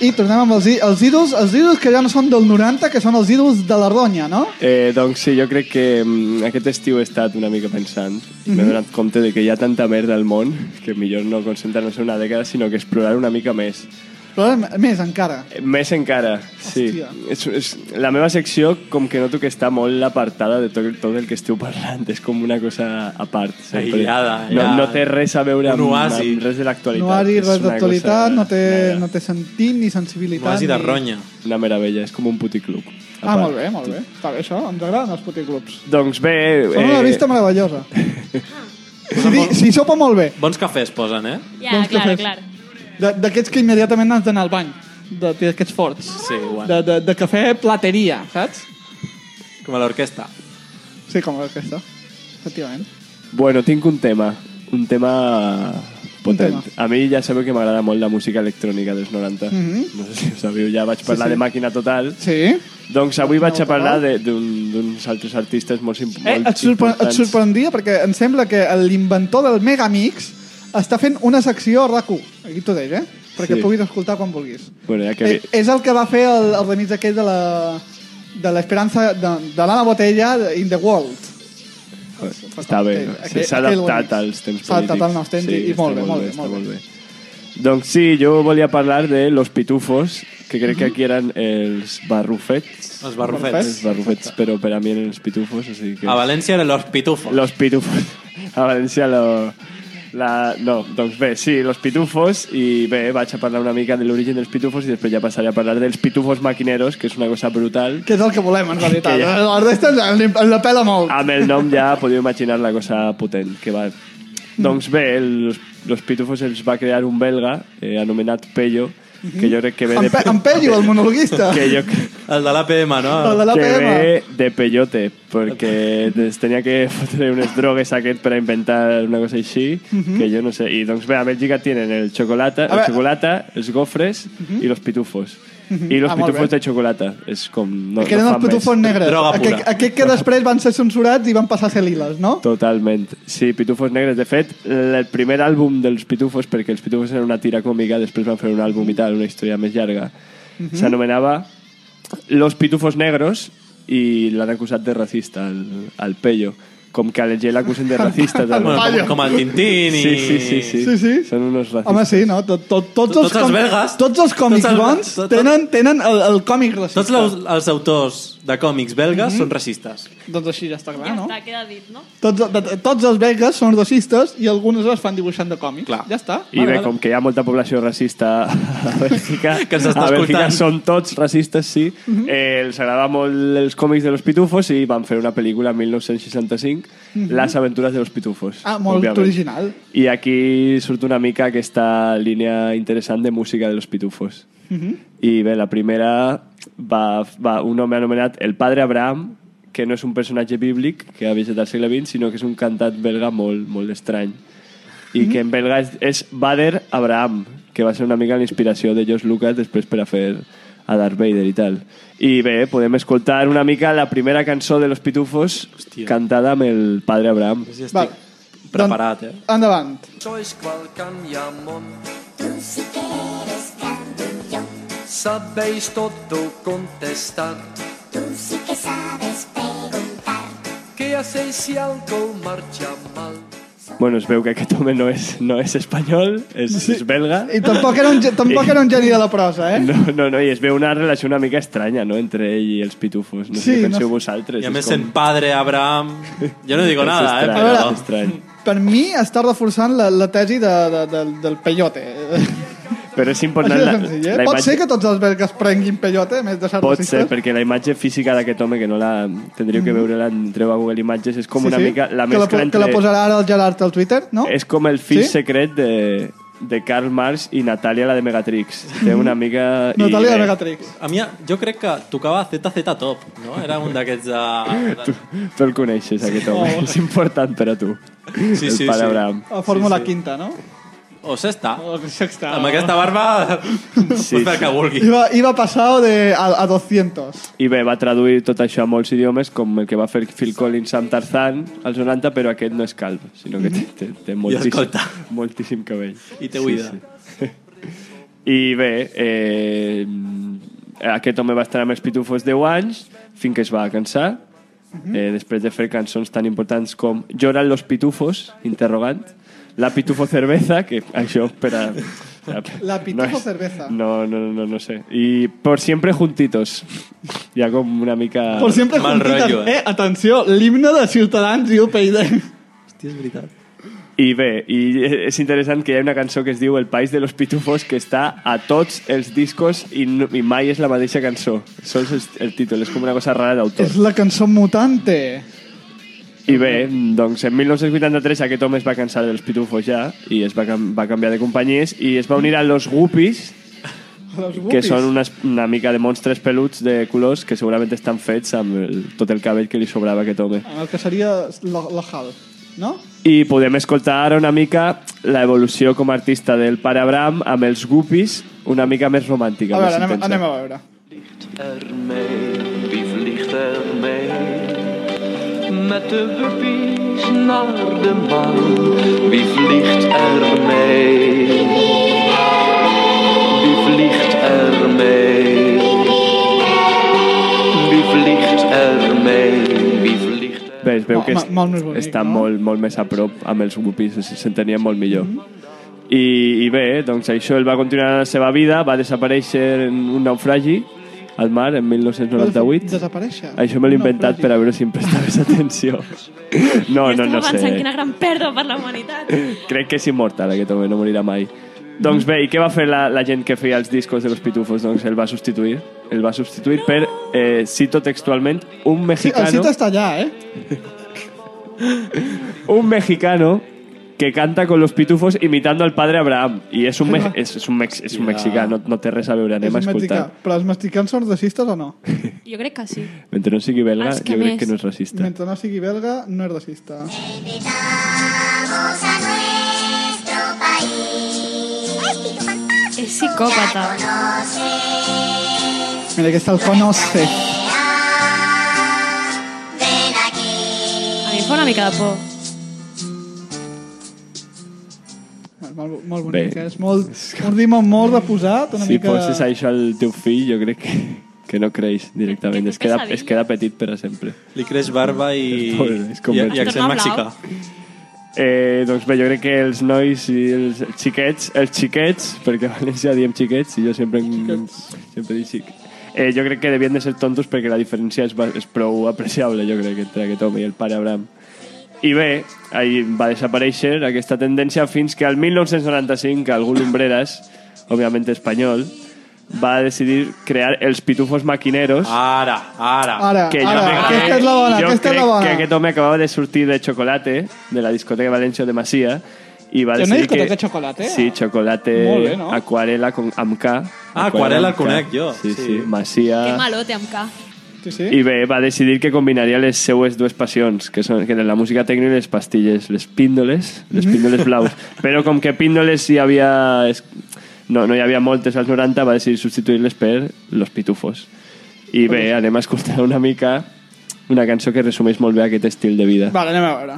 I tornem amb els, i- els idols, els idols que ja no són del 90, que són els idols de la ronya, no? Eh, doncs sí, jo crec que mm, aquest estiu he estat una mica pensant. i Mhm. M'he donat compte de que hi ha tanta merda al món que millor no concentrar-nos en una dècada, sinó que explorar una mica més. Però ara més encara. Eh, Més encara, sí. Hòstia. És, és, la meva secció, com que noto que està molt apartada de tot, tot el que esteu parlant, és com una cosa a part. Sempre. Aïllada, no, ja. no té res a veure amb, Un oasi. amb res de l'actualitat. No hi És res una d'actualitat, cosa- no, té, Nada. no té sentit ni sensibilitat. Quasi de ni- ronya. Una meravella, és com un puticlub. A Ah, part. molt bé, molt bé. Està bé això, ens agraden els puticlubs. Doncs bé... Són Eh. una vista meravellosa. si, di, si sopa molt bé, Bons cafès posen, eh? Ja, Doncs què clar, fes? clar. de- d'aquests que immediatament has d'anar al bany, de- d'aquests forts. Sí, igual. De, de, de cafè plateria, saps? Com a l'orquestra. Sí, com aquesta. Efectivament. Bueno, tinc un tema, un tema potent. Un A mi ja sabeu que m'agrada molt la música electrònica dels 90. Mhm. No sé si ho sabeu, ja vaig parlar sí. de Màquina Total. Sí. Doncs avui vaig a Total. parlar de- d'un- d'uns altres artistes molt, sim- Eh, molt et, sorpre et importants. sorprendria perquè em sembla que l'inventor del Megamix està fent una secció a RAC1. Aquí t'ho deia, eh? Perquè Sí. puguis escoltar quan vulguis. Bueno, ja que Eh, és el que va fer el, el remix aquell de la de l'esperança de, de l'Anna Botella de- in the world. Està bé, Aquell- sí, s'ha aquell adaptat remix. als temps polítics. S'ha adaptat als nous temps Sí, i, i està molt bé, molt bé, està molt bé. Doncs sí, jo volia parlar de Los Pitufos, que crec que aquí eren els barrufets. Els Els barrufets. barrufets, però per a mi eren els pitufos, o sigui que... A València eren los pitufos. Los pitufos. A València lo... La... No, doncs bé, sí, los pitufos i bé, vaig a parlar una mica de l'origen dels pitufos i després ja passaré a parlar dels pitufos maquineros, que és una cosa brutal. Que és el que volem, en realitat. Eh, Que ja- Ah, La resta ens, ens, ens la pela molt. Amb el nom ja podeu imaginar la cosa potent que va... Doncs bé, el- los, los pitufos els va crear un belga eh, anomenat Pello, que jo crec que ve en, de... Pe en Pello, el monologuista. Que jo crec El de l'APM, no? El de que l'APM. ve de peyote, perquè es tenia que fotre unes drogues aquest per a inventar una cosa així, que jo no sé. I doncs bé, a Bèlgica tenen el xocolata, Mhm. el veure- Mhm. xocolata els gofres i los pitufos. I los Ah, molt pitufos bé. de xocolata. És com... No, que eren no els fan més. pitufos negres. Droga pura. Aquell, aquell que després van ser censurats i van passar a ser liles, no? Totalment. Sí, Pitufos Negres. De fet, el primer àlbum dels Pitufos, perquè els Pitufos eren una tira còmica, després van fer un àlbum i tal, una història més llarga, s'anomenava Los Pitufos Negros i l'han acusat de racista, al, al Pello. Com que a la gent l'acusen de racista. també. Bueno, com, com el Tintín i... sí, sí, sí, sí. Sí, sí. Són uns racistes. Home, sí, no? Tot, tot, tots, Tots els còmics- belgues. Tots els còmics Tots els- bons tot- tot- tenen, tenen el, el còmic racista. Tots los, els autors de còmics belgues són racistes. Doncs així ja està clar, Ja no? està, queda dit, ah, no? Tots, de, de- tots els belgues són racistes i alguns es fan dibuixant de còmics. Clar. Ja està. I bé, com que hi ha molta població racista a Bèlgica, Que ens està a Bèlgica escoltant. Mhm. són tots racistes, sí. eh, els agradava molt els còmics de los pitufos i van fer una pel·lícula en 1965, Mhm. Les aventures de los pitufos. Ah, molt òbviament. original. I aquí surt una mica aquesta línia interessant de música de los pitufos. Mhm. I bé, la primera va, va un home anomenat El Padre Abraham, que no és un personatge bíblic que ha visitat al segle XX, sinó que és un cantat belga molt, molt estrany. I que en belga és, és Bader Abraham, que va ser una mica la inspiració de Josh Lucas després per a fer a Darth Vader i tal. I bé, podem escoltar una mica la primera cançó de Los Pitufos Hòstia. cantada amb el Padre Abraham. Sí, estic Val. preparat, eh? Doncs Endavant. Sois cual Canyamón, Tú si que eres candullón, sabéis todo contestar. tú sí que sabes preguntar. ¿Qué hacéis si algo marcha mal? Bueno, es veu que aquest home no és, no és espanyol, és, sí. és belga. I tampoc era un, ge- tampoc era un geni de la prosa, eh? No, no, no, i es veu una relació una mica estranya, no?, entre ell i els pitufos. No Sí, sé què penseu no sé. vosaltres. I a és més com- sent padre, Abraham... Jo no digo és nada, eh? estrany, A Però... veure. és estrany. Per mi està reforçant la, la tesi de, de, de, del peyote. Però és Així important... de La, senzill, eh? la Pot imatge- ser que tots els belgues prenguin peyote, a més de ser Pot racistes? ser, perquè la imatge física d'aquest home, que no la... Tindríeu que veure-la, entreu a Google Imatges, és com una mica Mm. la que la, mescla po- que entre... la posarà ara el Gerard al Twitter, no? És com el fill Sí? secret de, de Karl Marx i Natàlia, la de Megatrix. Té una mica... i Natàlia de bé, Megatrix. A mi, jo crec que tocava ZZ Top, no? Era un d'aquests de... Tu el coneixes, aquest home. Oh. És important per a tu. Sí, el sí, pare sí. Abraham. A Fórmula Sí, sí. Quinta, no? O sexta. O sexta. Amb aquesta barba... Sí, Sí, sí. Fer el que vulgui. Iba, iba pasado de, a, a 200. I bé, va traduir tot això a molts idiomes, com el que va fer Phil Collins amb Tarzan als 90, però aquest no és calb, Mhm. sinó que té, té, té moltíssim, escolta. moltíssim cabell. I té oïda. Sí, sí. I bé, eh, aquest home va estar amb els Pitufos 10 anys fins que es va cansar. Mhm. eh, després de fer cançons tan importants com Lloran los Pitufos, interrogant, La Pitufo Cerveza, que això per a... La Pitufo Cerveza. No, no, no, no sé. I Por Siempre Juntitos. Ja com una mica... Per sempre mal juntitas. rotllo, eh? eh? Atenció, l'himne de Ciutadans i UPyD. Hòstia, és veritat. I bé, i és interessant que hi ha una cançó que es diu El País de los Pitufos que està a tots els discos i, no, i mai és la mateixa cançó. Sols és el títol, és com una cosa rara d'autor. És la cançó mutante. I bé, doncs en 1983 aquest home es va cansar dels Pitufos ja i es va, cam va canviar de companyies i es va unir a los Guppies, Los que Guppies. són unes, una mica de monstres peluts de colors que segurament estan fets amb el, tot el cabell que li sobrava a aquest home. En el que seria la, la Hal, no? I podem escoltar ara una mica la evolució com a artista del pare Abraham amb els guppies una mica més romàntica. A veure, més anem, intensa. anem a veure. ermee, wie vliegt ermee? Met de puppies naar de maan, wie vliegt ermee? Wie vliegt ermee? Wie vliegt ermee? Wie vliegt ermee? Bé, es veu Ma- que ma- es, molt més bonic, està no? molt, molt més a prop amb els guppies, se- s'entenien molt millor. I, I bé, doncs això el va continuar la seva vida, va desaparèixer en un naufragi al mar en 1998. Desaparèixer. Això me l'he inventat per a... a veure si em prestaves atenció. No, no, no Estava pensant sé. quina gran pèrdua per la humanitat. Crec que és immortal aquest home, no morirà mai. Doncs bé, i què va fer la, la gent que feia els discos de los pitufos? Doncs el va substituir. El va substituir per, eh, cito textualment, Sí, un el mexicano, cita està allà, eh? un mexicano que canta con los pitufos imitando al padre Abraham. I és un, me és, és un, mex és un mexicà, no, no té res a veure, anem a És un mexicà. escoltar. Però els mexicans són racistes o no? Jo crec que sí. Mentre no sigui belga, Els que jo crec més. que no és racista. Mentre no sigui belga, no és racista. Invitamos a nuestro país. És psicòpata. Mira, aquesta el conoce. Ven aquí. A mi em fa una mica de por. Bueno, Molt, molt Bé. bonic, eh? És molt, un ritme molt reposat, una Si mica... poses això al teu fill, jo crec que, que no creix directament. Que té Es queda, pesadillas. es queda petit per a sempre. Li creix barba i, És pobre, és com i, Beto. i accent Torna blau. mexicà. Eh, doncs bé, jo crec que els nois i els xiquets, els xiquets, perquè a València diem xiquets i jo sempre, sempre dic xic, eh, jo crec que devien de ser tontos perquè la diferència és, ba- és prou apreciable, jo crec, entre aquest home i el pare Abraham. I bé, ahir va desaparèixer aquesta tendència fins que al 1995 algú lumbreras, òbviament espanyol, va decidir crear els pitufos maquineros Ara, ara. Ara, que ara, jo, crec- aquesta és la bona, jo aquesta és crec la que bona. aquest home acabava de sortir de Chocolate, de la discoteca València de Masia, i va Hi ha una decidir discoteca que... Chocolate, eh? Sí, Chocolate, Molt bé, no? Aquarela con, amb K. Ah, Aquarela Aquarela amb el conec K. jo, Sí, sí, sí. sí Masia... Que malote amb K. Sí, sí. I bé, va decidir que combinaria les seues dues passions, que són que eren la música tecno i les pastilles, les píndoles, les Mm-hmm. píndoles blaus. Però com que píndoles hi havia... es- No, no hi havia moltes als 90, va decidir substituir-les per los pitufos. I bé, anem a escoltar una mica una cançó que resumeix molt bé aquest estil de vida. Vale, anem a veure.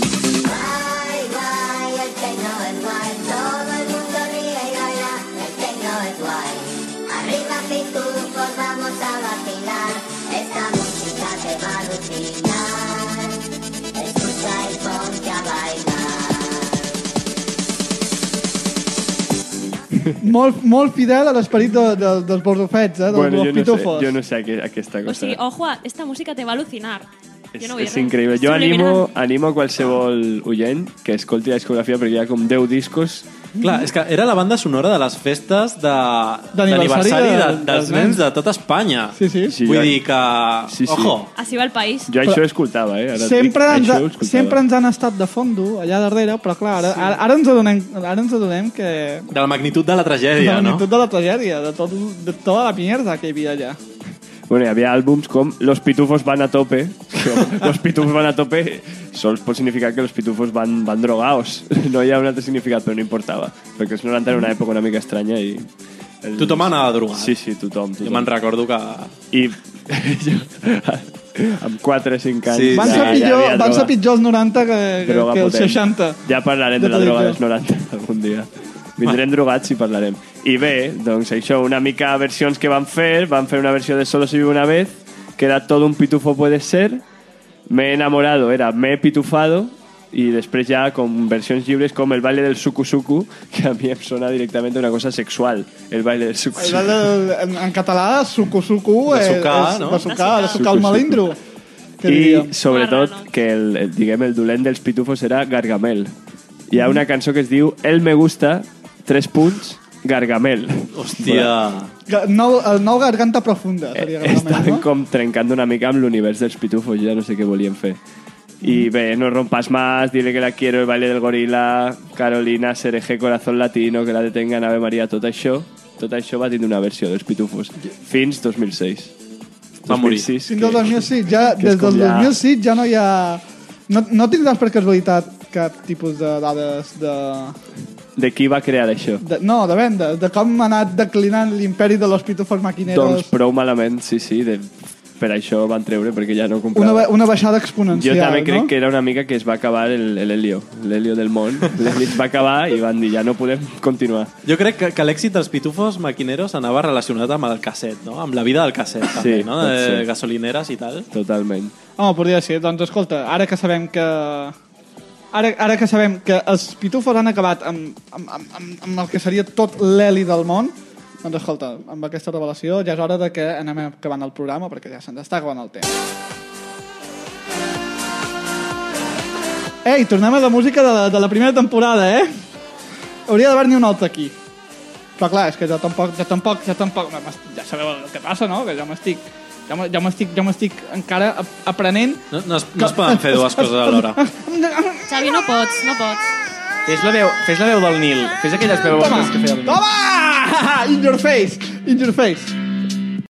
Guay, guay, el tecno es guay. Todo el mundo ríe y baila. El tecno es guay. Arriba pitufos, vamos a vacilar. Esta música te va a alucinar. Escucha y ponte a bailar. Molt, molt fidel a l'esperit de, de, dels borrofets, eh? Dels Bueno, dels jo no, sé, pitufos. jo no sé aqu- aquesta cosa. O sigui, Pues ojo, a- esta música te va a al·lucinar. És, Jo no vull és res. increïble. Jo Subliminal. animo, animo a qualsevol oient que escolti la discografia perquè hi ha com 10 discos Clar, és que era la banda sonora de les festes de- D'aniversari d'aniversari de, del- dels dels nens de tota Espanya. Sí, sí. Sí, Vull jo- dir que... Sí, sí. Ojo, Així va el país. Jo això ho escoltava, eh? Ara et Sempre dic, ens, això ho ha, escoltava. sempre ens han estat de fondo allà darrere, però clar, ara, ara, ara ens adonem, ara ens adonem que... de la magnitud de la De la tragèdia, no? magnitud de la tragèdia, de, tot, de tota la mierda que hi havia allà. Bueno, hi havia àlbums com Los pitufos van a tope. los pitufos van a tope sols pot significar que los pitufos van, van drogaos. No hi ha un altre significat, però no importava. Perquè els 90 era una època una mica estranya i... El... Tothom anava drogat. Sí, sí, tothom. Jo tothom. me'n recordo que... I jo, amb 4 o 5 anys. Sí, Van ja, ser ja pitjor, havia van ser droga. pitjor els 90 que, que, Droga que els potent. 60. Ja parlarem de Ja la t'ho droga dic dels 90 algun dia. Vindrem drogats i parlarem. I bé, doncs això, una mica versions que van fer, van fer una versió de Solo se vive una vez, que era Todo un pitufo puede ser, Me he enamorado, era Me he pitufado, i després ja com versions lliures com el baile del suku suku, que a mi em sona directament una cosa sexual, el baile del suku El, suku. el, en, en català, suco, suco... eh, Besucar, és, no? Besucar, besucar Besucar. el melindro. Què diríem? I sobretot Marrano. que el, el, diguem, el dolent dels pitufos era Gargamel. Hi ha una cançó que es diu El me gusta, tres punts, Gargamel. Hòstia. Ga- Nou, el nou garganta profunda. Seria realment, Estaven no? Eh, com trencant una mica amb l'univers dels pitufos, jo ja no sé què volien fer. Mm. I bé, no rompas más, dile que la quiero, el baile del gorila, Carolina, Sereje, corazón latino, que la detengan, Ave Maria, tot això, tot això va tindre una versió dels pitufos. Fins 2006. Va morir. 2006, Fins que- al 2006, ja, que des és com del ja- 2006 ja no hi ha... No, no tindràs per casualitat cap tipus de dades de, De qui va crear això? de... No, de vendes, de com ha anat declinant l'imperi de los pitufos maquineros. Doncs prou malament, sí, sí, de, per això van treure, perquè ja no una, comprava. ba- una baixada jo exponencial, també crec no? que era una mica que es va acabar el- el Helio, l'Helio del món. L'Helio es va acabar i van dir, ja no podem continuar. Jo crec que, que l'èxit dels pitufos maquineros anava relacionat amb el casset, no? Amb la vida del casset, també, Sí, no? pot De ser. gasolineres i tal. Totalment. Home, podria ser. Doncs escolta, ara que sabem que... Ara, ara que sabem que els pitufos han acabat amb, amb, amb, amb, amb el que seria tot l'eli del món, doncs escolta, amb aquesta revelació ja és hora de que anem acabant el programa perquè ja se'ns està acabant el temps. Ei, tornem a la música de la, de la primera temporada, eh? Hauria d'haver-n'hi una altra aquí. Però clar, és que jo tampoc, jo tampoc, jo tampoc, ja sabeu el que passa, no? Que jo m'estic, jo m'estic, jo m'estic, jo m'estic encara ap- aprenent No, no, es, no es poden fer dues coses alhora. Xavi, no pots, no pots. Fes la veu, fes la veu del Nil. Fes aquelles veus Toma, que feia el Nil. toma! In your face, in your face.